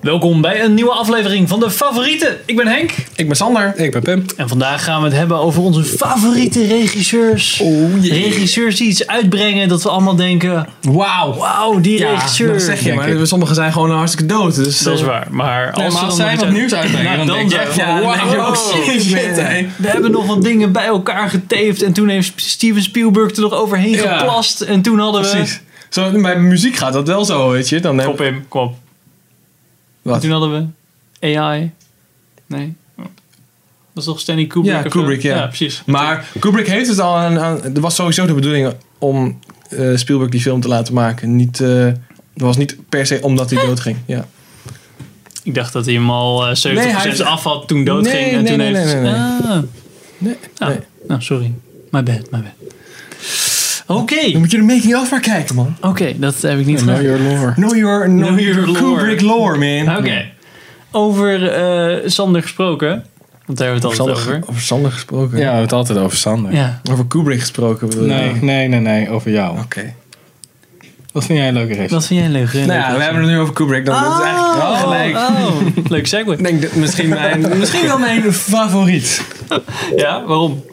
Welkom bij een nieuwe aflevering van de favorieten. Ik ben Henk Ik ben Sander. Ik ben Pim. en vandaag gaan we het hebben over onze favoriete regisseurs. Oh Regisseurs die iets uitbrengen dat we allemaal denken: Wauw. wauw, die regisseur. dat zeg je, Denk ik. maar sommigen zijn gewoon hartstikke dood. Dus, Dat is waar. Maar als, Nee, ze dan maar als nog zij iets wat uit- nieuws uitbrengen, dan Nou, denk je dan echt, wel. ja, Wow. dan denk je, oh Shit, shit, man. hè. We hebben nog wat dingen bij elkaar getaped. En toen heeft Steven Spielberg er nog overheen Ja. geplast. En toen hadden we. Precies. Zo, bij muziek gaat dat wel zo, weet je. Dan heb Kom in, kom op. Wat? Toen hadden we AI. Nee. Dat is toch Stanley Kubrick? Ja, of zo? Kubrick, ja. precies. Maar Kubrick heeft het al aan, aan- Er was sowieso de bedoeling om eh, Spielberg die film te laten maken. Niet, eh, dat was niet per se omdat hij dood ging. Ja. Ik dacht dat hij hem al eh, 70% Nee, hij heeft- af had toen doodging. Nee, en nee, toen nee, heeft... nee, nee, Ah, Nee, nou, nee. nou, sorry. My bad, my bad. Oké, Dan moet je de making-of maar kijken, man. oké, dat heb ik niet gedaan. your lore. Know your, Know your lore. Kubrick lore, man. Oké. Over eh Sander gesproken. Want daar hebben we het altijd over. Over Sander gesproken. Ja, we hebben het altijd over Sander. Ja. Over Kubrick gesproken bedoel je? Nee, Oké. nee, nee, nee, over jou. Wat vind jij een leuke race? Wat vind jij leuk? Nou ja, we hebben het nu over Kubrick. Dan dat is eigenlijk wel gelijk. Oh, leuk segue. Ik denk dat misschien, mijn, misschien wel mijn favoriet. Ja, waarom?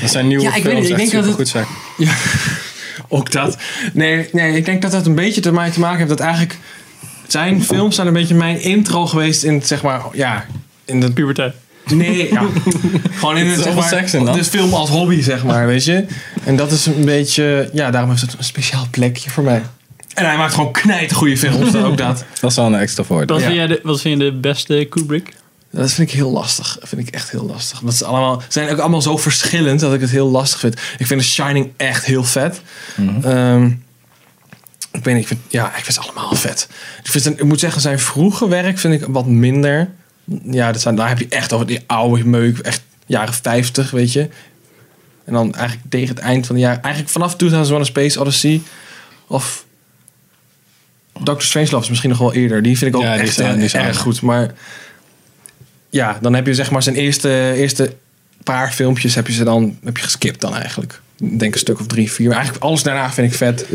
Dat zijn nieuwe Ja, ik weet films, niet, ik echt denk dat supergoed zijn. Ook dat. Nee, nee, ik denk dat dat een beetje te mij te maken heeft dat eigenlijk zijn films zijn een beetje mijn intro geweest in het, zeg maar, ja, in de Puberteit. Nee, ja. gewoon in het, Zoveel zeg maar, seks in dan. de film als hobby, zeg maar, weet je. En dat is een beetje, ja, daarom heeft het een speciaal plekje voor mij. En hij maakt gewoon knijt goede films, dat ook dat. Dat is wel een extra voordeel. Wat, Ja. vind jij de, wat vind je de beste Kubrick? Dat vind ik heel lastig. Dat vind ik echt heel lastig. Dat ze allemaal, ze zijn ook allemaal zo verschillend dat ik het heel lastig vind. Ik vind The Shining echt heel vet. Mhm. Ehm, ik weet niet, ik vind, ja, ik vind ze allemaal vet. Ik, vind zijn, ik moet zeggen, zijn vroege werk vind ik wat minder. Ja, dat zijn, daar heb je echt over die oude meuk, echt jaren 50, weet je. En dan eigenlijk tegen het eind van de jaar, eigenlijk vanaf 2001 A Space Odyssey of Doctor Strangelove is misschien nog wel eerder. Die vind ik ook Ja, die echt eh, is aan- die is erg, aan. erg goed. Maar ja, dan heb je zeg maar zijn eerste, eerste paar filmpjes heb je ze dan heb je geskipt dan eigenlijk. Ik Denk een stuk of drie, vier. Maar eigenlijk alles daarna vind ik vet.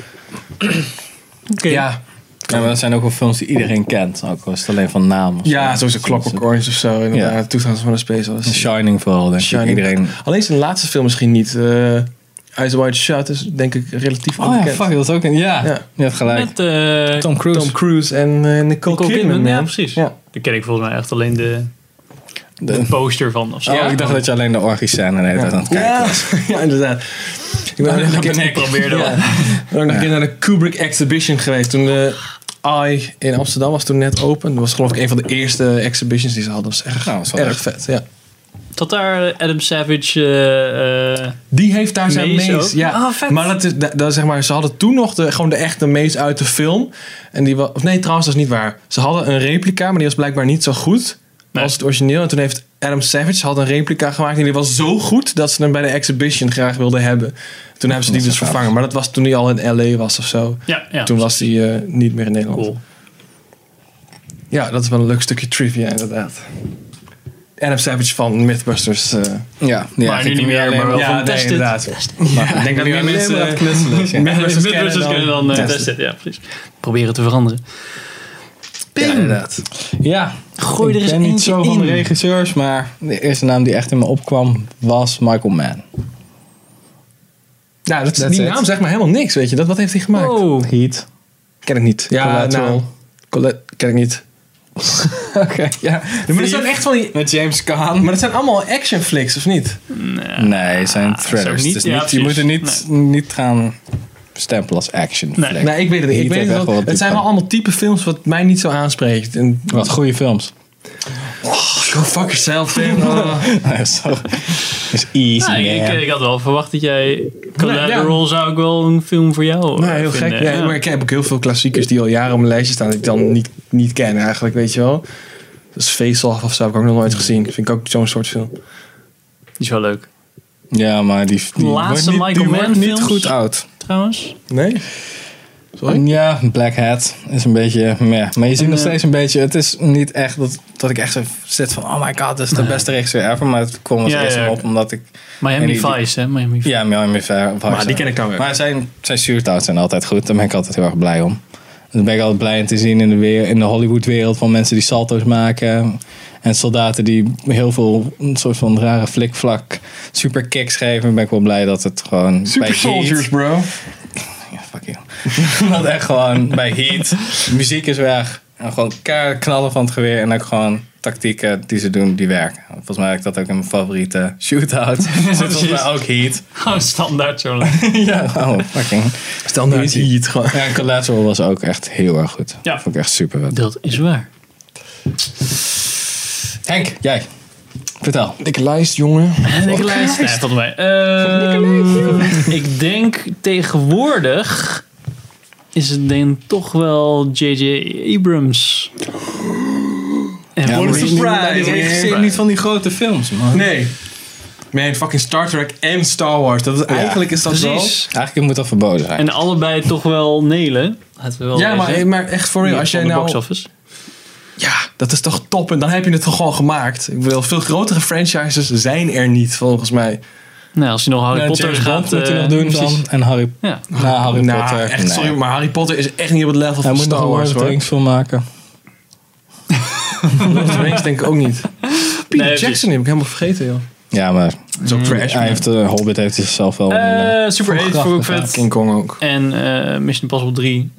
Oké. Ja, Ja, maar dat zijn ook wel films die iedereen kent. Ook al is het alleen van naam. of ja zoals een Dus Clockwork het- Orange of zo. Inderdaad, Toegang van de Space The Odyssey. Shining vooral, denk Shining. ik. Iedereen... Alleen zijn laatste film misschien niet. eh Eyes Wide Shut is denk ik relatief Oh ja, onbekend. fuck, dat is ook een... Ja, Ja. je hebt gelijk. Met eh, Tom Cruise. Tom Cruise en eh, Nicole, Nicole Kidman. Kidman, man. ja, precies. Ja. Daar ken ik volgens mij echt alleen de, de, De- poster van. Of zo. Oh, ik dacht dat je alleen de orgie-scène de hele tijd aan het kijken Ja. was. ja, inderdaad. Ik ben ook nog een keer- ik probeerde Ja. wel. Ik ben ook nog een keer naar de Kubrick Exhibition geweest. Toen de AI in Amsterdam was toen net open. Dat was geloof ik een van de eerste exhibitions die ze hadden. Dat was erg, Nou, dat is wel erg vet. Ja. Tot daar Adam Savage. eh, eh, Die heeft daar zijn Maze mees. ook? ja. Ah, vet. Maar dat is, dat, dat is zeg maar, ze hadden toen nog de, gewoon de echte mees uit de film. En die wa- of nee, trouwens, dat is niet waar. Ze hadden een replica, maar die was blijkbaar niet zo goed Nee. als het origineel. En toen heeft Adam Savage had een replica gemaakt en die was zo goed dat ze hem bij de exhibition graag wilden hebben. Toen hebben ze die Dat dus is wel gaaf. vervangen. Maar dat was toen hij al in LA was of zo. ja, ja. toen was hij eh, niet meer in Nederland. cool. Ja, dat is wel een leuk stukje trivia, inderdaad. Adam Savage van Mythbusters. eh. Ja, die maar nu eigenlijk niet meer, alleen maar wel ja, van nee, Tested. inderdaad. dus Tested. Maar ik denk dat meer meer mensen... mensen aan het knutselen is, ja. Mythbusters Met Brussels kunnen dan eh, Tested, ja, precies. Proberen te veranderen. Ja, inderdaad. Ja, Gooi ik er eens ben niet eentje zo van de in. regisseurs, maar de eerste naam die echt in me opkwam was Michael Mann. Ja, Nou, dat, That's die it. naam zegt me helemaal niks, weet je. Dat, wat heeft hij gemaakt? Wow. Heat. Ken ik niet. Ja, Collateral. nou... Colla- ken ik niet. Oké, ja. maar dat zijn echt van die... Met James Caan. Maar dat zijn allemaal action flicks, of niet? Nee, het zijn dat is ook thrillers. Ah, niet- Dus ja, niet, je precies. moet er niet, niet gaan stempelen als action Nee. flick. Nee, Nou, ik weet het niet. Ik Heat weet het, heeft wel. echt wel wat het zijn wel diepgang. allemaal type films wat mij niet zo aanspreekt. En, Oh, Wat goede films. go fuck yourself, Tim. Nee, zo. is easy, Nou, ik, man. ik had wel verwacht dat jij. Collateral zou ik wel een film voor jou. Nee, eh, heel gek. vinden. Ja, Maar ik heb ook heel veel klassiekers die al jaren op mijn lijstje staan... die ik dan niet, niet ken eigenlijk, weet je wel. Dus Face Off of zo heb ik ook nog nooit gezien. Vind ik ook zo'n soort film. Die is wel leuk. Ja, maar die, die Laatste wordt niet, Michael die wordt Mann niet films? goed oud. Trouwens. Nee? Sorry? Ja, Black Hat is een beetje meh. Maar je ziet En, nog eh, steeds een beetje... Het is niet echt dat, dat ik echt zo zit van... Oh my god, dit is de beste regisseur ever. Maar het kwam als Ja, eerste ja, op oké. omdat ik... Miami En die- Vice, hè? Miami Vice. Ja, Miami Vice. Maar die ken ik dan weer. Maar zijn, zijn shootouts zijn altijd goed. Daar ben ik altijd heel erg blij om. Dan ben ik altijd blij om te zien in de, weer, in de Hollywood-wereld van mensen die salto's maken. En soldaten die heel veel een soort van rare flikvlak superkicks geven. Dan ben ik wel blij dat het gewoon Super bij Heat- soldiers, bro. Ja, fuck you. dat echt gewoon bij Heat. de muziek is weg. En gewoon keihard knallen van het geweer. En ook gewoon tactieken die ze doen, die werken. Volgens mij heb ik dat ook in mijn favoriete shootout. Dus volgens mij ook Heat. Gewoon standaard zo lang. ja, gewoon Oh, fucking. Standaard Easy. heat gewoon. Ja, en Collateral was ook echt heel erg goed. Ja. Vond ik echt super vet. Dat is waar. Henk, jij. Vertel. Dikke lijst, jongen. Nicolaas. Nee, volgens mij. Ehm, ik denk tegenwoordig is het denk ik toch wel J.J. Abrams. En Ja, Ray- What a surprise. Ik man. zie niet van die grote films, man. Nee. Man, fucking Star Trek en Star Wars. Dat is, Eigenlijk is dat Precies. Eigenlijk moet dat verboden zijn. En allebei toch wel Nelen. Laten we wel. wel Ja, maar, wezen. maar echt voor je. Van Als jij de nou... box office. Ja, dat is toch top. En dan heb je het toch gewoon gemaakt. Ik bedoel, veel grotere franchises zijn er niet, volgens mij. Nou, als je nog Harry Nou, Potter James gaat... Bond moet hij eh, nog doen precies. dan. En Harry, Ja. na Harry Nou, Potter. echt, nee. sorry, maar Harry Potter is echt niet op het level Hij van moet nog Star een Wars, Lord of the hoor. Rings film maken. Lord of the Rings denk ik ook niet. Peter precies. Jackson heb ik helemaal vergeten, joh. Ja, maar Dat is ook trash. hij man. heeft, eh, Hobbit heeft hij zichzelf wel... eh, Eh, Super 8 vond ik Grappig, vet. King Kong ook. En eh, Mission Impossible 3.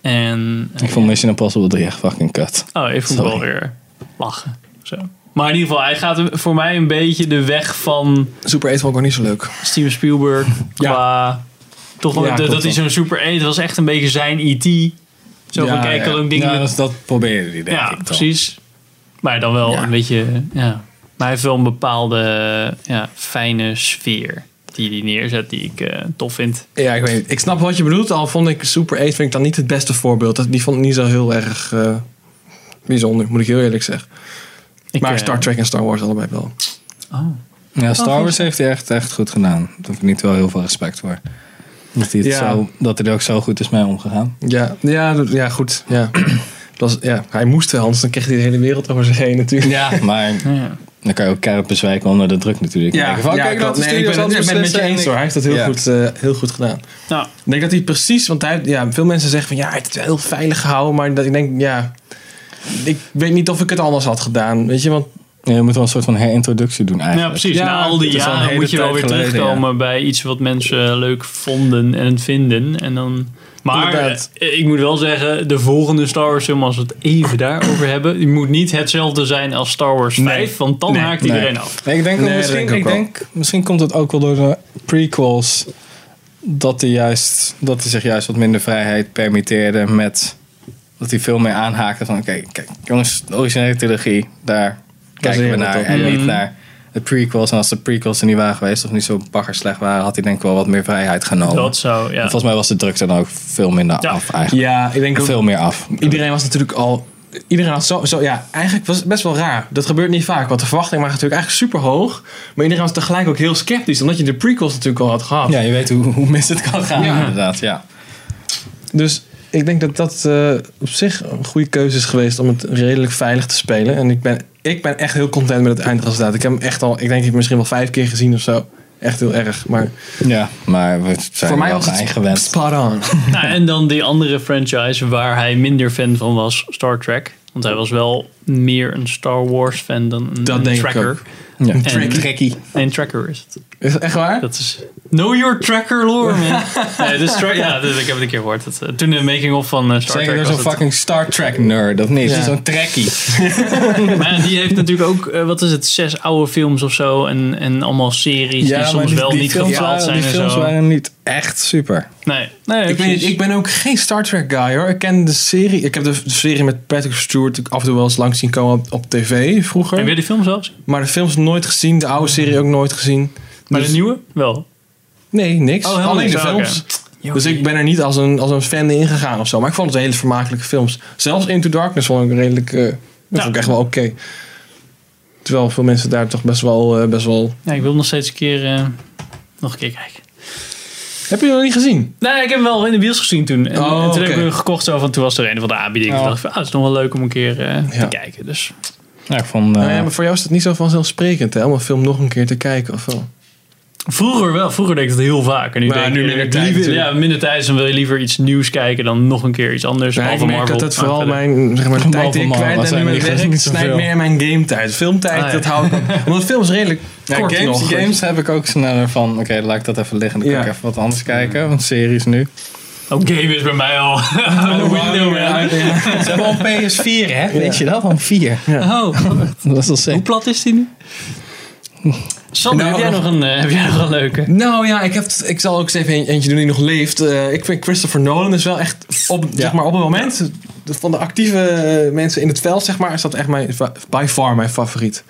En... ik vond Mission Impossible 3 echt fucking kut. Oh, ik vond het wel Sorry. weer lachen. Zo. Maar in ieder geval, hij gaat voor mij een beetje de weg van Super 8 vond ik ook niet zo leuk. Steven Spielberg. Ja. Qua, toch wel Ja, de- klopt dat hij wel. zo'n super eet was echt een beetje zijn E.T. Zo Ja, van, kijk, ja. al ook dingen... Ja, met- dat, dat probeerde hij denk ja, ik dan. precies. Maar dan wel Ja. een beetje... Ja. Maar hij heeft wel een bepaalde ja, fijne sfeer die hij neerzet, die ik eh, tof vind. Ja, ik weet niet. Ik snap wat je bedoelt. Al vond ik Super 8 vind ik dan niet het beste voorbeeld. Dat- Die vond ik niet zo heel erg eh, bijzonder, moet ik heel eerlijk zeggen. Ik, maar eh, Star Trek en Star Wars allebei wel. Oh. Ja, Star goed. Wars heeft hij echt, echt goed gedaan. Daar heb ik niet wel heel veel respect voor. Dat hij, het Ja. zo, dat hij er ook zo goed is mee omgegaan. Ja, ja, dat- ja goed. Ja. Het was, ja, hij moest wel, anders dan kreeg hij de hele wereld over zich heen natuurlijk. Ja, maar Ja. dan kan je ook keihard bezwijken onder de druk natuurlijk. En denken van, oké, ik laat had- de nee, ik studios ben het anders ik ben het met je beslissen en eens ik- hoor. Hij heeft dat heel, Ja. goed, eh, heel goed gedaan. Nou, Ik denk dat hij precies, want hij, ja, veel mensen zeggen van ja, hij heeft het wel heel veilig gehouden. Maar dat, ik denk, ja, ik weet niet of ik het anders had gedaan. Weet je, want Ja, je moet wel een soort van herintroductie doen ja, eigenlijk. precies. Ja, Na al die dat is al een jaren hele moet je wel tijd weer geleden, terugkomen bij iets wat mensen eh, leuk vonden en vinden. En dan... Maar Inderdaad. eh, ik moet wel zeggen, de volgende Star Wars film, als we het even daarover hebben, die moet niet hetzelfde zijn als Star Wars 5, want dan Nee. haakt Nee. iedereen af. Nee, ik denk, ook Nee, misschien, dat denk ik ik ook denk misschien komt het ook wel door de prequels dat hij juist dat hij zich juist wat minder vrijheid permitteerde met dat hij veel meer aanhaakte van oké kijk jongens de originele trilogie daar kijken zien we we het naar op. en Ja. niet naar de prequels en als de prequels er niet waren geweest of niet zo bagger slecht waren had hij denk ik wel wat meer vrijheid genomen. Dat zou, ja. En Volgens mij was de druk er dan ook veel minder Ja. af eigenlijk. ja, ik denk Veel meer af. Iedereen was natuurlijk al. Iedereen had zo, zo. Ja, eigenlijk was het best wel raar. Dat gebeurt niet vaak, want de verwachting waren natuurlijk eigenlijk super hoog. Maar iedereen was tegelijk ook heel sceptisch, omdat je de prequels natuurlijk al had gehad. Ja, je weet hoe, hoe mis het kan gaan Ja. inderdaad. Ja. Dus ik denk dat dat eh, op zich een goede keuze is geweest om het redelijk veilig te spelen. En ik ben, ik ben echt heel content met het eindresultaat. Ik heb hem echt al, ik denk, ik heb hem misschien wel vijf keer gezien of zo. Echt heel erg. Maar ja, maar we zijn voor mij wel was het eigenwend. spot on. Nou, en dan die andere franchise waar hij minder fan van was, Star Trek. Want hij was wel meer een Star Wars fan dan een, Dat een denk ik tracker. ook. Ja. En- Trekkie. Nee, een tracker is het. Is dat echt waar? Dat is Know Your Tracker lore, man. nee, dus tra- ja, dus ik heb het een keer gehoord. Dat, eh, toen de making-of van eh, Star Zeker Trek door was zo'n het- fucking Star Trek nerd, of niet? Ja. Zo'n trekkie. Maar ja, die heeft natuurlijk ook, eh, wat is het, zes oude films of zo. En, en allemaal series die soms wel niet gefaald zijn Die en films zo. waren niet echt super. Nee, nee Ik, weet, precies. niet, ik ben ook geen Star Trek guy hoor. Ik ken de serie. Ik heb de, de serie met Patrick Stewart af en toe wel eens langs zien komen op, op tv Heb je vroeger. die film zelfs? Maar de films nooit gezien, de oude serie ook nooit gezien. Maar Dus- de nieuwe? Wel. Nee, niks. Oh, helemaal Alleen de niks. Oh, oké. films. Dus ik ben er niet als een, als een fan in gegaan of zo. Maar ik vond het hele vermakelijke films. Zelfs Into Darkness vond ik redelijk. eh dat vond ik echt wel oké. Terwijl veel mensen daar toch best wel, eh, best wel. Ja, ik wil nog steeds een keer, eh, nog een keer kijken. Heb je dat nog niet gezien? Nee, ik heb hem wel in de bios gezien toen. En, Oh, en toen heb ik oké. hem gekocht zo van toen was er een van de aanbiedingen. Oh. Ik dacht van, ah, het is nog wel leuk om een keer eh, Ja. te kijken. Dus Ja, ik vond... eh, Nou ja, maar voor jou is dat niet zo vanzelfilsprekend hè, om een film nog een keer te kijken of wel. Vroeger wel. Vroeger deed ik dat heel vaak. En nu, Maar denk nu ik, minder ik- tijd liever- natuurlijk. Ja, minder tijd. Dan wil je liever iets nieuws kijken dan nog een keer iets anders. Ja, ik behalve merk Marvel. dat het Maar vooral verder. mijn zeg maar, de tijd Ah, Marvel die ik man, kwijt dat ben zijn nu met niet- dat is werk niet snijdt zoveel. meer in mijn game tijd. Filmtijd, Ah, ja. dat hou ik op. Omdat films redelijk Ja, kort games, nog. games heb ik ook sneller van, oké, laat ik dat even liggen. Dan kan Ja. ik even wat anders kijken, want series nu. Ook game is bij mij al. Oh, window, ja, man. ja. Ze hebben al PS4, hè? Weet je dat? Van 4. Oh, Dat is al hoe zeker. plat is die nu? Sander, Nou, heb, jij nog een, eh, heb jij nog een leuke? Nou ja, ik, heb, t- ik zal ook eens even een- eentje doen die nog leeft. Eh, ik vind Christopher Nolan is wel echt op, zeg maar, op het moment de- van de actieve eh, mensen in het veld, zeg maar, is dat echt mijn, fa- by far mijn favoriet.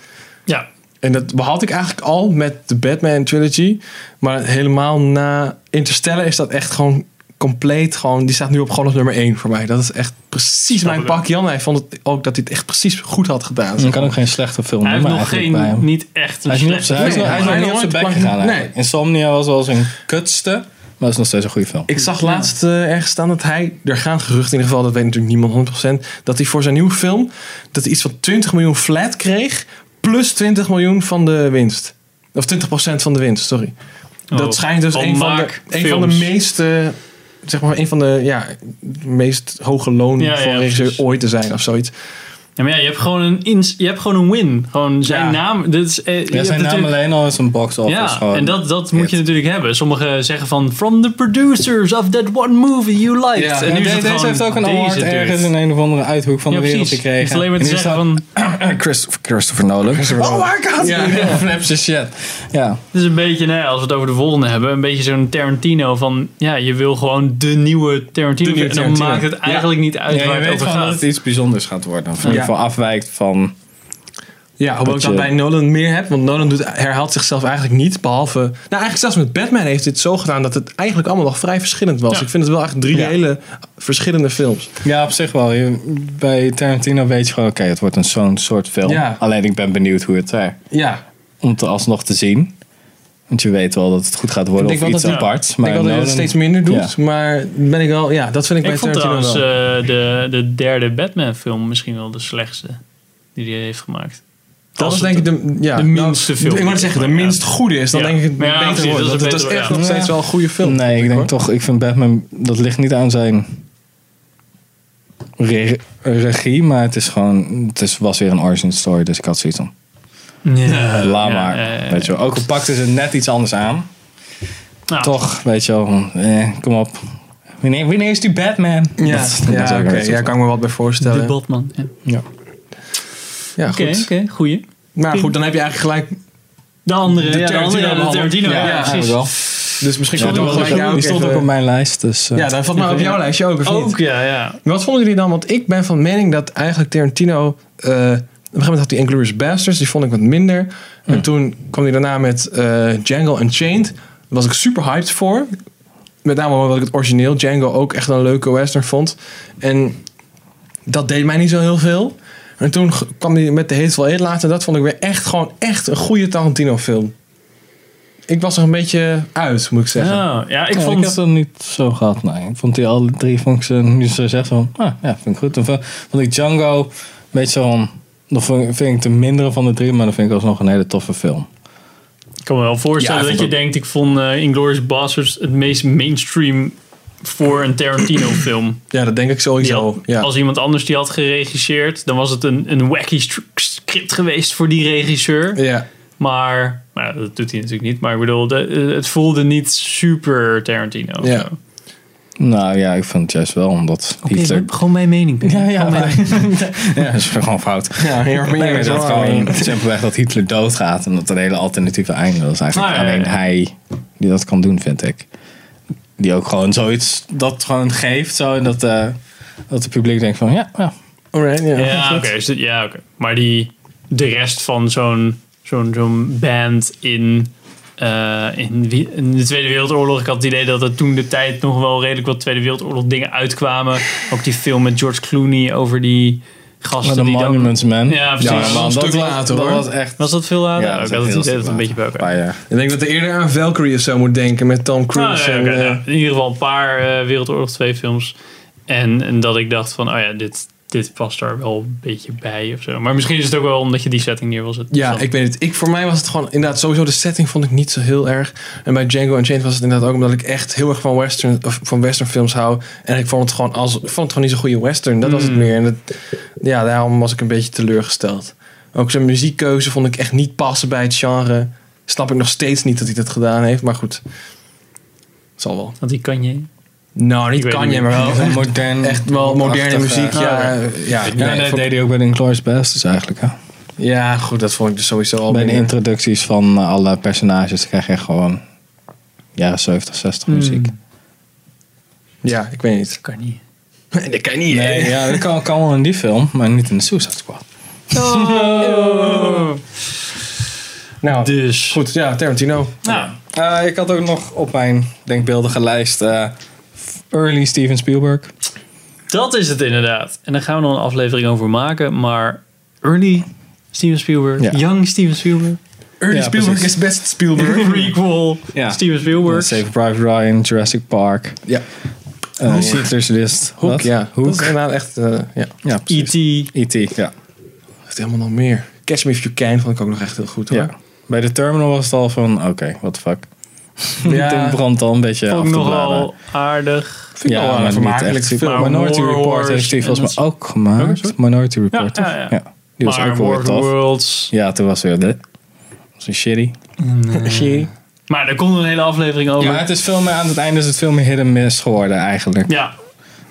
Ja, En dat behad ik eigenlijk al met de Batman trilogy. Maar helemaal na Interstellar is dat echt gewoon compleet. Gewoon, die staat nu op gewoon op nummer 1 voor mij. Dat is echt precies Snap mijn ik ook. pak. Jan, hij vond het ook dat hij het echt precies goed had gedaan. Dan kan ook geen slechte film hij heeft noemen nog eigenlijk bij geen, hem. niet echt een Hij is niet op slechte zijn hij is Nee, nog- hij is hij nog niet is op zijn nooit bek plank- gegaan. nee. eigenlijk. Insomnia was wel zijn kutste, maar het is nog steeds een goede film. Ik zag laatst eh, ergens staan dat hij, er gaan geruchten in ieder geval, dat weet natuurlijk niemand 100%, dat hij voor zijn nieuwe film, dat hij iets van 20 miljoen flat kreeg, plus 20 miljoen van de winst. Of 20% van de winst, sorry. Oh, dat schijnt dus dan een van, de, maak een van de films. meest, eh, zeg maar, een van de ja, meest hoge lonen Ja, voor ja, een regisseur precies. ooit te zijn of zoiets. Ja, maar ja, je hebt gewoon een, ins, je hebt gewoon een win. Gewoon zijn Ja. naam. Dit is, eh, je Ja, hebt zijn naam natuurlijk- alleen al is een box office Ja, gewoon. en dat, dat moet je hit. natuurlijk hebben. Sommigen zeggen van, from the producers of that one movie you liked. Ja, en Ja, nu de- is het deze gewoon heeft ook een deze award dirt. ergens in een of andere uithoek van Ja, de wereld precies. Je hoeft gekregen. alleen maar te En die zeggen staat- van, Christopher, Christopher Nolan. oh my god! Ja, flap zijn shit. Ja. het is een beetje, nou ja, als we het over de volgende hebben, een beetje zo'n Tarantino van, ja, je wil gewoon de nieuwe Tarantino. De nieuwe en dan Tarantino. maakt het Ja. eigenlijk niet uit ja, waar je het weet over gewoon dat gaat. het iets bijzonders gaat worden. Of in ieder geval afwijkt van... Ja, hoewel ik dat Dat je- bij Nolan meer heb, want Nolan doet, herhaalt zichzelf eigenlijk niet, behalve... Nou, eigenlijk zelfs met Batman heeft dit zo gedaan dat het eigenlijk allemaal nog vrij verschillend was. Ja. Ik vind het wel echt drie Ja. hele verschillende films. Ja, op zich wel. Je- bij Tarantino weet je gewoon... Oké, het wordt een zo'n soort film. Ja. Alleen ik ben benieuwd hoe het er... Ja, Om het alsnog te zien. Want je weet wel dat het goed gaat worden. Ik denk Of wel iets dat- ja. aparts. ik Maar denk wel dat hij Nolan- het steeds minder doet, maar ben ik wel... Ja, dat vind ik, Ik bij vond Tarantino trouwens wel. eh, de, de derde Batman film misschien wel de slechtste die hij heeft gemaakt. dat Als is het denk ik de, ja, de minste nou, film. Ik wou zeggen, de Ja. minst goede is, dan Ja. denk ik het Maar ja, beter precies, wordt. dat is want een Het is betere- echt ja. nog steeds Ja. wel een goede film. Nee, ik denk toch, ik vind Batman, dat ligt niet aan zijn re- regie, maar het is gewoon, het is, was weer een origin story, dus ik had zoiets van, Eh, Ja, laat ja, maar. ja, ja. Weet je wel. Ook al pakten ze net iets anders aan, Nou, toch, weet je wel, van, eh, kom op. Wanneer, wanneer is die Batman? Ja, Dat- dat is ja ook oké. weer zo. Ja, kan ik me wat bij De voorstellen. Batman. ja. Oké, Ja. Ja, goed. oké, goeie. Maar goed, dan heb je eigenlijk gelijk... De andere, De ja, de andere, Tarantino ja, de behandeld. Tarantino, ja, Ja, Ja, precies. wel. Dus misschien Ja, kunnen die we was gelijk ook- jou die ook stond ook even- op mijn lijst, dus eh, Ja, dat valt maar op jouw lijstje ook, of niet? Ook, ja, ja. Wat vonden jullie dan? Want ik ben van mening dat eigenlijk Tarantino... eh, op een gegeven moment had hij Inglourious Basterds. Die vond ik wat minder. Hmm. En toen kwam hij daarna met eh Django Unchained. Daar was ik super hyped voor. Met name omdat ik het origineel Django ook echt een leuke western vond. En dat deed mij niet zo heel veel. En toen g- kwam hij met de Hateful Eight later. Dat vond ik weer echt gewoon echt een goede Tarantino film. Ik was er een beetje uit, moet ik zeggen. Ja, ja ik ja, vond... ik heb dat niet zo gehad. Nee. Ik vond die alle drie vond ik ze nu zo zegt van, ah, ja, vind ik goed. Dan vond- vond ik Django een beetje van, dan vond ik- vind ik de mindere van de drie, maar dan vind ik alsnog een hele toffe film. Ik kan me wel voorstellen Ja, ik dat vond je ook- denkt, ik vond eh, Inglourious Basterds het meest mainstream voor een Tarantino film. Ja, dat denk ik Die sowieso. had- ja. Als iemand anders die had geregisseerd, dan was het een, een wacky stru- script geweest voor die regisseur. ja. Maar, maar ja, dat doet hij natuurlijk niet. Maar ik bedoel, de- eh, het voelde niet super Tarantino. of Ja. zo. Nou ja, ik vind het juist wel, omdat Hitler... gewoon mijn mening. Ja, ja, maar- ja, dat is gewoon fout. Ja, heel erg Nee, maar meer. dat gewoon simpelweg dat Hitler doodgaat en dat er een hele alternatieve einde was eigenlijk. Ah, ja, ja, ja. Alleen hij die dat kan doen, vind ik. Die ook gewoon zoiets dat gewoon geeft zo en dat, eh, dat het publiek denkt van ja, ja Alright, ja. Ja, oké. is dit- Ja, oké. Maar die, de rest van zo'n zo'n zo'n band in, eh, in, wie- in de Tweede Wereldoorlog. Ik had het idee dat er toen de tijd nog wel redelijk wat Tweede Wereldoorlog dingen uitkwamen. Ook die film met George Clooney over die gasten Maar de die dan... Monuments Man. Ja, precies. Ja, maar een stuk later, dat hoor. was echt... Was dat veel later? Ja, Ja, ik dat is had echt het heel idee dat het een beetje stuk bij een elkaar paar jaar. Ik denk dat ik eerder aan Valkyrie of zo moet denken met Tom Nou, Cruise. ja, en, oké, eh, nou, in ieder geval een paar eh, Wereldoorlog 2 films. En, en dat ik dacht van, oh ja, dit, dit past daar wel een beetje bij of zo. Maar misschien is het ook wel omdat je die setting neer wil zetten. Ja, Dus dan- ik weet het. Ik, voor mij was het gewoon inderdaad sowieso de setting vond ik niet zo heel erg. En bij Django Unchained was het inderdaad ook omdat ik echt heel erg van western, of van western films hou. En ik vond het gewoon als ik vond het gewoon niet zo'n goede western. Dat was het Mm. meer. En dat, ja, daarom was ik een beetje teleurgesteld. Ook zijn muziekkeuze vond ik echt niet passen bij het genre. Snap ik nog steeds niet dat hij dat gedaan heeft, maar goed. Zal wel. Want die kan je. Nou, niet Ik weet kan het je, niet. maar wel echt, modern, echt wel moderne prachtige- muziek. Ja, ja, Ja, nee, dat vond- deed hij ook bij de Inglourious Basterds eigenlijk. Hè? ja, goed, dat vond ik dus sowieso al Bij de minder. introducties van eh, alle personages krijg je gewoon jaren 70, 60 muziek. Hmm, Ja, ik weet niet. kan niet. Dat kan niet, Nee, ja, dat kan, kan wel in die film, maar niet in de Suicide Squad. Nou, Dus. Goed, ja, Tarantino. Nou, Eh, ik had ook nog op mijn denkbeeldige lijst eh, early Steven Spielberg. dat is het inderdaad. En daar gaan we nog een aflevering over maken. Maar early Steven Spielberg, Ja. young Steven Spielberg, Early Ja, Spielberg precies. is best Spielberg. prequel Ja. Steven Spielberg. Save Private Ryan, Jurassic Park, ja. uh, Schindler's List, Hoek, Wat? ja. Hoek. Dat is inderdaad echt, eh, ja. Ja, E.T. precies. E E.T., ja. Heeft helemaal nog meer. Catch Me If You Can vond ik ook nog echt heel goed hoor. ja. Bij de terminal was het al van, oké, what the fuck. Ja. Tim brandt al een beetje af Ook te bladen. nogal aardig. Vind ik ja, wel een maar niet vermakelijke echt super. film. Maar Minority War Report Wars heeft hij en volgens dat mij ook gemaakt. Welke, sorry? Minority Report, Ja, toch? ja, ja. Die was maar ook wel weer War of the tof. Worlds. Ja, toen was weer dit. was een shitty. Shit. Maar daar komt een hele aflevering over. Maar Ja. het is veel meer, aan het einde is het veel meer hit and miss geworden eigenlijk.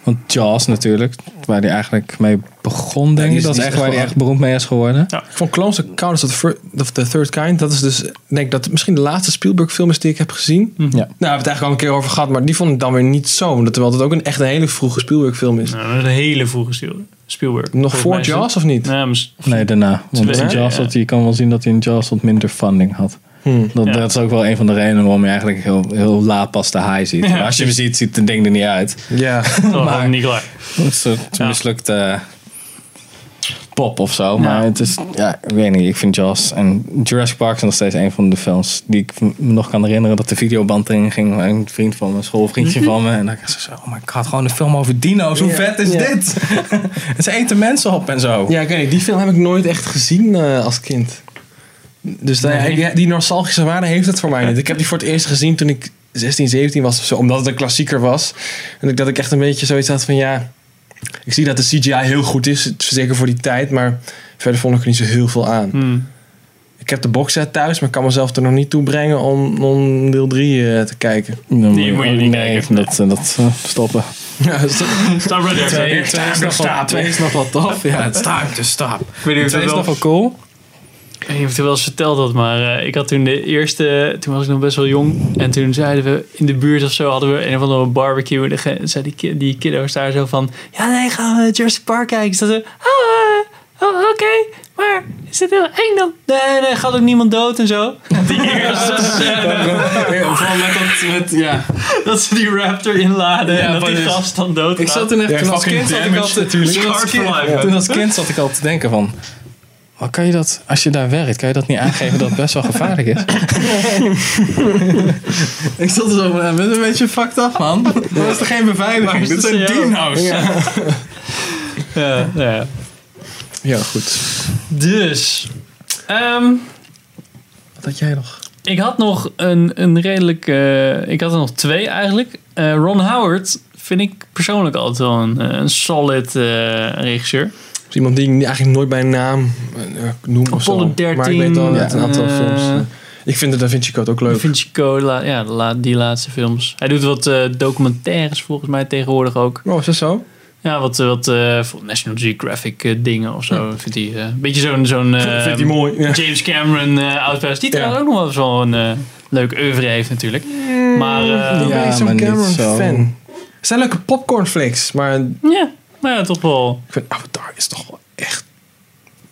Want Jaws natuurlijk, waar hij eigenlijk mee begon denk die ik. is- Dat is die is echt echt waar hij wel- echt beroemd mee is geworden. Ik vond Clones of Countess of the, Fir- of the Third Kind. Dat is dus, ik denk dat het misschien de laatste Spielberg film is die ik heb gezien. Mhm. Ja. Nou, we hebben het eigenlijk al een keer over gehad. Maar die vond ik dan weer niet zo. omdat- Terwijl het ook een echt een hele vroege Spielberg film is. Nou, dat is een hele vroege Spiel- Spielberg. Nog Volgens voor mij is het- Jaws of niet? Ja, mis- Nee, daarna. Want in Tweede, Jaws ja. had, je kan wel zien dat hij in Jaws wat minder funding had. Hmm. Dat, Ja. dat is ook wel een van de redenen waarom je eigenlijk heel, heel laat pas de high ziet. Ja, Maar als je hem ziet, ziet het ding er niet uit. Ja. dat was niet klaar. Het is een soort Ja. mislukte pop of zo. Maar het is, ja, ik weet niet. Ik vind Jaws en Jurassic Park zijn nog steeds een van de films die ik me nog kan herinneren dat de videoband erin ging. Een vriend van me, een Mhm. schoolvriendje van me. En dan dacht ik zo, oh my god, gewoon een film over dino's. Hoe Ja. vet is Ja. dit? en ze eten mensen op en Oh. zo. Ja, ik weet niet. Die film heb ik nooit echt gezien eh, als kind. Dus daar- Nee. die, die nostalgische waarde heeft het voor mij niet. Ik heb die voor het eerst gezien toen ik 16, 17 was of zo. Omdat het een klassieker was. En ik, dat ik echt een beetje zoiets had van ja... Ik zie dat de CGI heel goed is. Zeker voor die tijd. Maar verder vond ik er niet zo heel veel aan. Hmm. Ik heb de boxset thuis. Maar ik kan mezelf er nog niet toe brengen om, om deel 3 te kijken. Dan Die moet je niet nee, kijken. Dat, dat eh, stoppen. Ja, dat is toch- Stop right there. Twee- twee is nog wel- twee is nog wel tof. Ja, it's time to stop. Ik weet niet of Twee het is wel- nog wel cool. Ik weet niet of ik het wel eens verteld had, maar eh, ik had toen de eerste, toen was ik nog best wel jong. En toen zeiden we in de buurt of zo, hadden we een of andere barbecue. En dan ge- zei die, ki- die kiddo's daar zo van, ja nee, gaan we Jurassic Park kijken. Ik zat zo, oh, eh, oh, oké, maar is dit heel eng dan? Nee, nee, gaat ook niemand dood en zo. Die eerste scène, Vooral met dat... Met, ja. dat ze die raptor inladen en Ja, dat die precies. gast dan dood Ik zat toen echt... Ja, toen als fucking kind zat ik damage al te, natuurlijk. toen als Scarred kind- for life, hè? Toen als kind zat ik al te denken van... Wat kan je dat, als je daar werkt, kan je dat niet aangeven dat het best wel gevaarlijk is? ik zat er zo van, eh, bent een beetje fucked up, man. Dat is toch geen Waar beveiliging? is Dit de zijn CL? dino's. Ja, nou ja. ja, goed. Dus, ehm, Wat had jij nog? Ik had nog een, een redelijk. eh, ik had er nog twee eigenlijk. Eh, Ron Howard vind ik persoonlijk altijd wel een, eh, een solid eh, regisseur. Dus iemand die ik eigenlijk nooit bij naam eh, noem of Apollo zo. 13, maar ik weet wel uit een aantal eh, films. eh. Ik vind de Da Vinci Code ook leuk. Da Vinci Code, la- ja, de la- die laatste films. Hij doet wat eh, documentaires volgens mij tegenwoordig ook. Oh, is dat zo? Ja, wat, eh, wat eh, voor National Geographic eh, dingen of zo. Vindt hij, eh, een beetje zo'n. zo'n eh, Vindt hij mooi. Ja. James Cameron eh oudpers, die Ja. trouwens ook nog wel eens wel een eh, leuk oeuvre heeft natuurlijk. Maar eh, ik ja. ben niet maar zo'n niet Cameron zo. fan. Het zijn leuke popcornflakes, maar maar nou ja, toch wel. ik vind Avatar is toch wel echt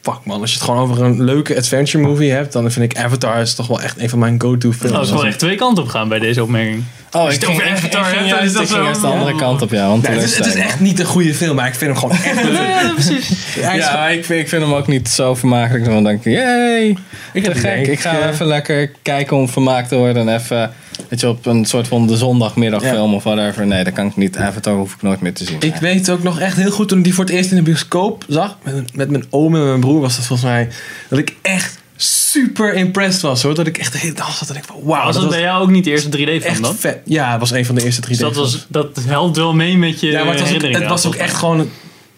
fuck man, als je het gewoon over een leuke adventure movie hebt, dan vind ik Avatar is toch wel echt een van mijn go-to films. Nou, is gewoon echt twee kanten op gaan bij deze opmerking. Oh, het over echt- Avatar ik hebt, ging dan is juist, dat ik ging zo. juist de andere kant op, ja. Want Nee, het, is, het is echt niet een goede film, maar ik vind hem gewoon echt leuk. ja, precies. Hij is Ja, ik, vind- ik vind hem ook niet zo vermakelijk. Want dan denk ik, yay, ik ben gek. Ik ga even lekker kijken om vermaakt te worden. En even, weet je, op een soort van de zondagmiddagfilm of whatever. Nee, dat kan ik niet. Avatar hoef ik nooit meer te zien. Ik weet ook nog echt heel goed toen ik die voor het eerst in de bioscoop zag. Met, met mijn oom en mijn broer was dat volgens mij. Dat ik echt super impressed was hoor. Dat ik echt de hele dag zat en ik van wauw. Was dat dat was bij jou ook niet de eerste 3D-film echt dan? vet. Ja, het was een van de eerste 3D. Dus dat, was, dat helpt wel mee met je ja, maar het was ook, herinneringen. het was ook volgens echt gewoon een,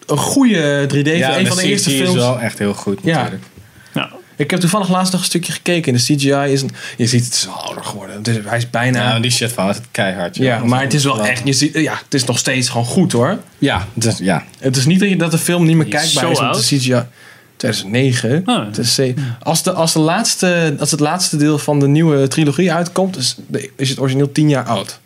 een goede 3D. ja, een van de eerste CG films. is wel echt heel goed Ja. natuurlijk. mij. Nou, Ik heb toevallig laatst nog een stukje gekeken. En de CGI is een. Je ziet het is wel ouder geworden. Het is- hij is bijna. Ja, Ja, maar Nou, die shit van het keihard. joh. Dat maar het is wel Ja. echt. Je ziet, ja, het is nog steeds gewoon goed hoor. Ja, dus, ja. Het is niet dat, je, dat de film niet meer Die is kijkbaar zo is, want de CGI... 2009. Oh. Het is ze- als, de, als, de laatste, als het laatste deel van de nieuwe trilogie uitkomt, is, de- is het origineel 10 jaar oud.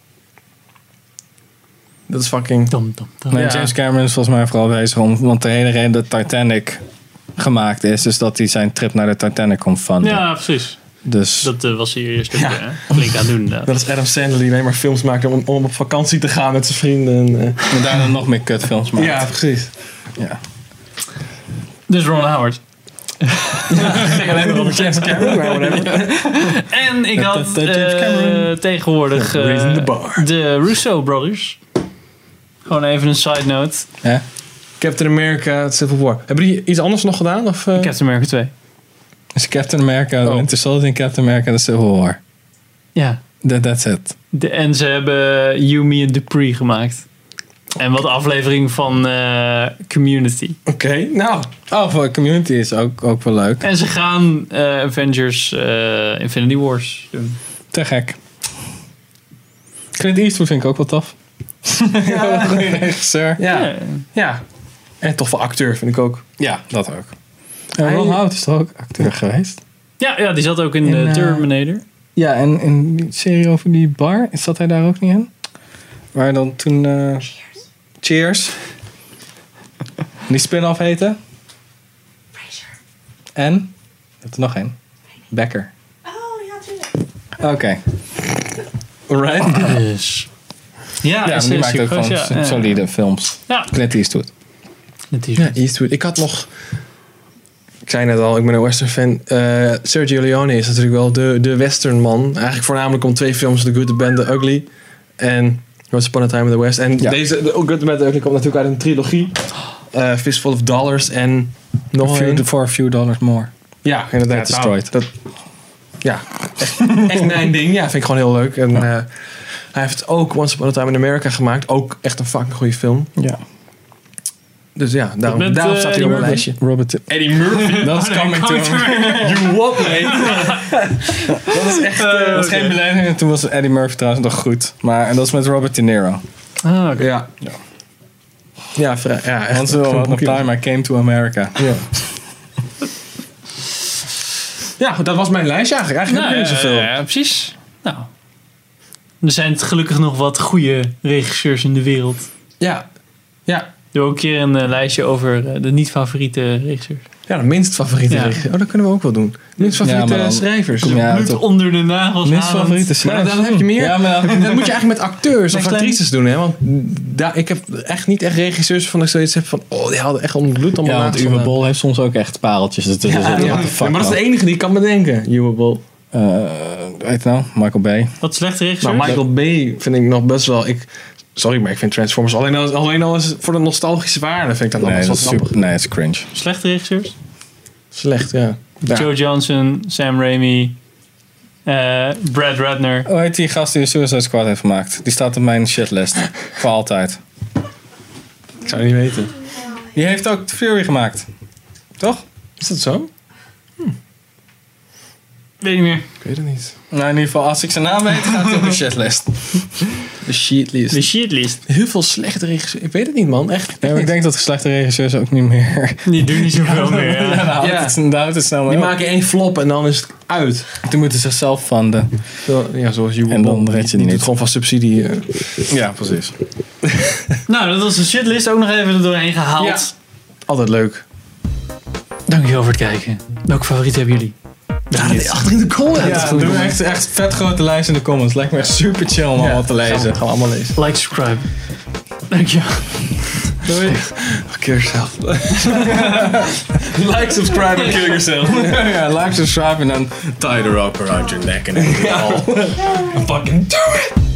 Dat is fucking. dam, dam, dam. Nee, Ja. James Cameron is volgens mij vooral bezig om... Want de hele reden dat Titanic gemaakt is... is dat hij zijn trip naar de Titanic kon funden. Ja, precies. Dus Dat eh, was hij eerst ook Ja. eh, flink aan het doen. inderdaad. Dat is Adam Sandler die alleen maar films maakt om, om op vakantie te gaan met zijn vrienden. en, en daarna nog meer kutfilms eh. maken. ja, precies. ja. Dus Ron Howard. alleen maar over James Cameron. maar whatever. En ik had dat- dat James eh, Cameron. tegenwoordig The reason eh, the bar. de Russo Brothers. Gewoon even een side note. Hè? Captain America, Civil War. Hebben die iets anders nog gedaan? Of, eh? Captain America 2. Dus Captain America, Oh. Winter Soldier en Captain America The Civil War. Ja. That, that's it. De, en ze hebben You, Me and Dupree gemaakt. En wat aflevering van eh, Community. Oké, nou. Oh, voor Community is ook, ook wel leuk. En ze gaan eh, Avengers eh, Infinity Wars doen. Te gek. Clint Eastwood vind ik ook wel tof. Ja. Goeie regisseur. Ja, ja. En toch wel acteur, vind ik ook. Ja, dat ook. En Hij- Ron Howard is toch ook acteur geweest? Ja, ja, die zat ook in, In, de eh, Terminator. Ja, en in die serie over die bar, zat hij daar ook niet in? Waar dan toen... eh, Cheers. Die spin-off heette? En? Je hebt er nog één. Becker. Oh ja, tuurlijk. Oké. Right? Dus. Ja, Ja, is- maar die is maakt ook supergoed, gewoon ja. s- solide films. Ja, Clint Eastwood. natuurlijk. Ja, Eastwood. Ik had nog... Ik zei net al, ik ben een western fan. Eh, Sergio Leone is natuurlijk wel de, de western man. Eigenlijk voornamelijk om twee films, The Good, The Bad, The Ugly. En Once Upon a Time in the West. En Ja. deze, The Good, The Bad, The Ugly komt natuurlijk uit een trilogie. Eh Fistful of Dollars en A nog few- een. for a few dollars more. Ja, inderdaad. Get Destroyed. Nou, dat, ja, echt, echt mijn ding. Ja, vind ik gewoon heel leuk. En eh, hij heeft ook Once Upon a Time in America gemaakt. Ook echt een fucking goede film. Ja. Dus ja, daarom, Met, daarom eh, staat hij Eddie op mijn Murphy? lijstje. Robert... Eddie Murphy. Dat Oh, is coming to You what, mate? dat is echt... eh, Dat is geen belediging. Toen was Eddie Murphy trouwens nog goed. Maar en dat is met Robert De Niro. Ah, oké. ja. Ja. Ja, vrij. Ja, echt. Once upon a time I came to America. Ja. ja, dat was mijn lijstje eigenlijk. Eigenlijk Nou, heb ik niet eh, zoveel. ja, precies. Nou. Er zijn het gelukkig nog wat goede regisseurs in de wereld. Ja. Ja. Doe ook een keer een eh, lijstje over eh, de niet-favoriete regisseurs. Ja, de minst favoriete Ja. regisseur. Oh, dat kunnen we ook wel doen. Minst favoriete Ja, maar dan- schrijvers. Kom Ja, Bloed toch. onder de nagels Minst halend. favoriete Maar schrijver. dan heb je meer. Ja, maar dan- Dat moet je eigenlijk met acteurs Met of kleine- actrices doen, hè? Want daar, ik heb echt niet echt regisseurs van dat ik zoiets heb van. Oh, die hadden echt onder het bloed allemaal Ja, want nagels Uwe vandaan. Bol heeft soms ook echt pareltjes ertussen Ja, zitten. ja. What the Ja, fuck maar dat is man. de enige die ik kan bedenken, Uwe Bol. Eh, weet je nou? Michael Bay. Wat slechte regisseurs? Maar Nou, Nou, Michael Bay vind ik nog best wel. Ik, sorry, maar ik vind Transformers alleen al, alleen al is voor de nostalgische waarde vind ik dat nog Nee, best wel dat is grappig. super, nee, dat is cringe. Slechte regisseurs? Slecht, ja. Ja. Joe Johnson, Sam Raimi, eh, Brad Ratner. Hoe heet die gast die de Suicide Squad heeft gemaakt? Die staat op mijn shitlist. Voor altijd. Ik zou het niet weten. Die heeft ook Fury gemaakt. Toch? Is dat zo? Weet niet meer. Ik weet het niet. Nou, in ieder geval, als ik zijn naam weet, gaat hij op mijn shitlist. De shitlist. De shitlist. Heel veel slechte regisseurs. Ik weet het niet, man. Echt. Ja, maar ik denk dat slechte regisseurs ook niet meer... Die doen niet zoveel meer. Ja, Ja. dan houdt Ah, Ja. het, dan houdt het nou snel mee Die op. maken één flop en dan is het uit. Die moeten zichzelf funden. Zo- Ja, zoals Uwe En dan Bol. red je Die- het die niet. doet gewoon van subsidie. eh. Ja, precies. Nou, dat was de shitlist ook nog even er doorheen gehaald. Altijd leuk. Dankjewel voor het kijken. Welke favoriet hebben jullie? Daar achter in de comments. Ja, doe echt, echt vet grote lijst in de comments. Lijkt me echt super chill om allemaal te lezen. Gaan we allemaal lezen. Like, subscribe. Dankjewel. Doei. Kill yourself. like, subscribe en kill yourself. ja, like, subscribe en dan tie the rope around your neck and all. Fucking do it!